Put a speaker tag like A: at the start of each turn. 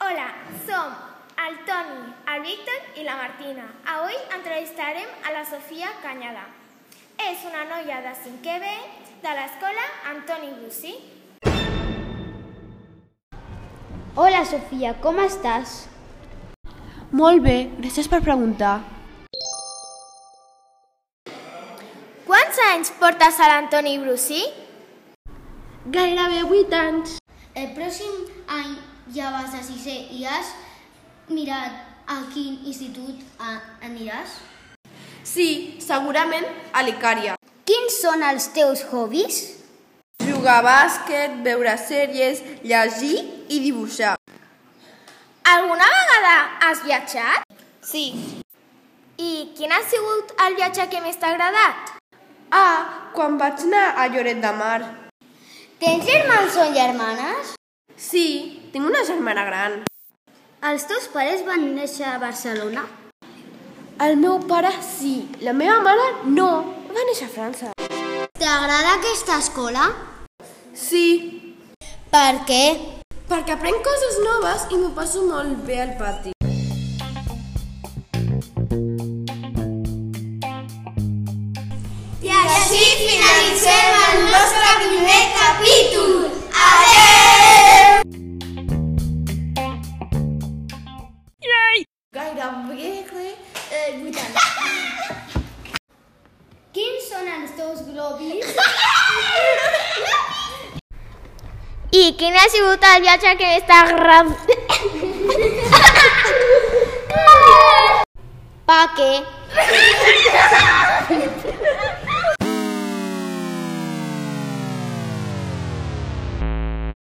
A: Hola, som el Toni, el Víctor i la Martina. Avui entrevistarem a la Sofia Canyada. És una noia de 5è B de l'escola Antoni Bussi.
B: Hola, Sofia, com estàs?
C: Molt bé, gràcies per preguntar.
A: Quants anys portes a l'Antoni Brusí?
C: Gairebé 8 anys.
D: El pròxim any ja vas a sisè i has mirat a quin institut a- aniràs?
C: Sí, segurament a l'Icària.
B: Quins són els teus hobbies?
C: Jugar a bàsquet, veure sèries, llegir i dibuixar.
A: Alguna vegada has viatjat?
C: Sí.
A: I quin ha sigut el viatge que més t'ha agradat?
C: Ah, quan vaig anar a Lloret de Mar.
B: Tens germans o germanes?
C: Sí, tinc una germana gran.
B: Els teus pares van néixer a Barcelona?
C: El meu pare sí, la meva mare no. Va néixer a França.
B: T'agrada aquesta escola?
C: Sí,
B: Per què?
C: perquè aprenc coses noves i m'ho passo molt bé al pati.
A: I així finalitzem el nostre primer capítol. Adeu!
D: Gairebé eh, 8 anys.
B: Quins són els teus globis?
A: I quin ha sigut el viatge que més t'ha agradat?
B: Pa què?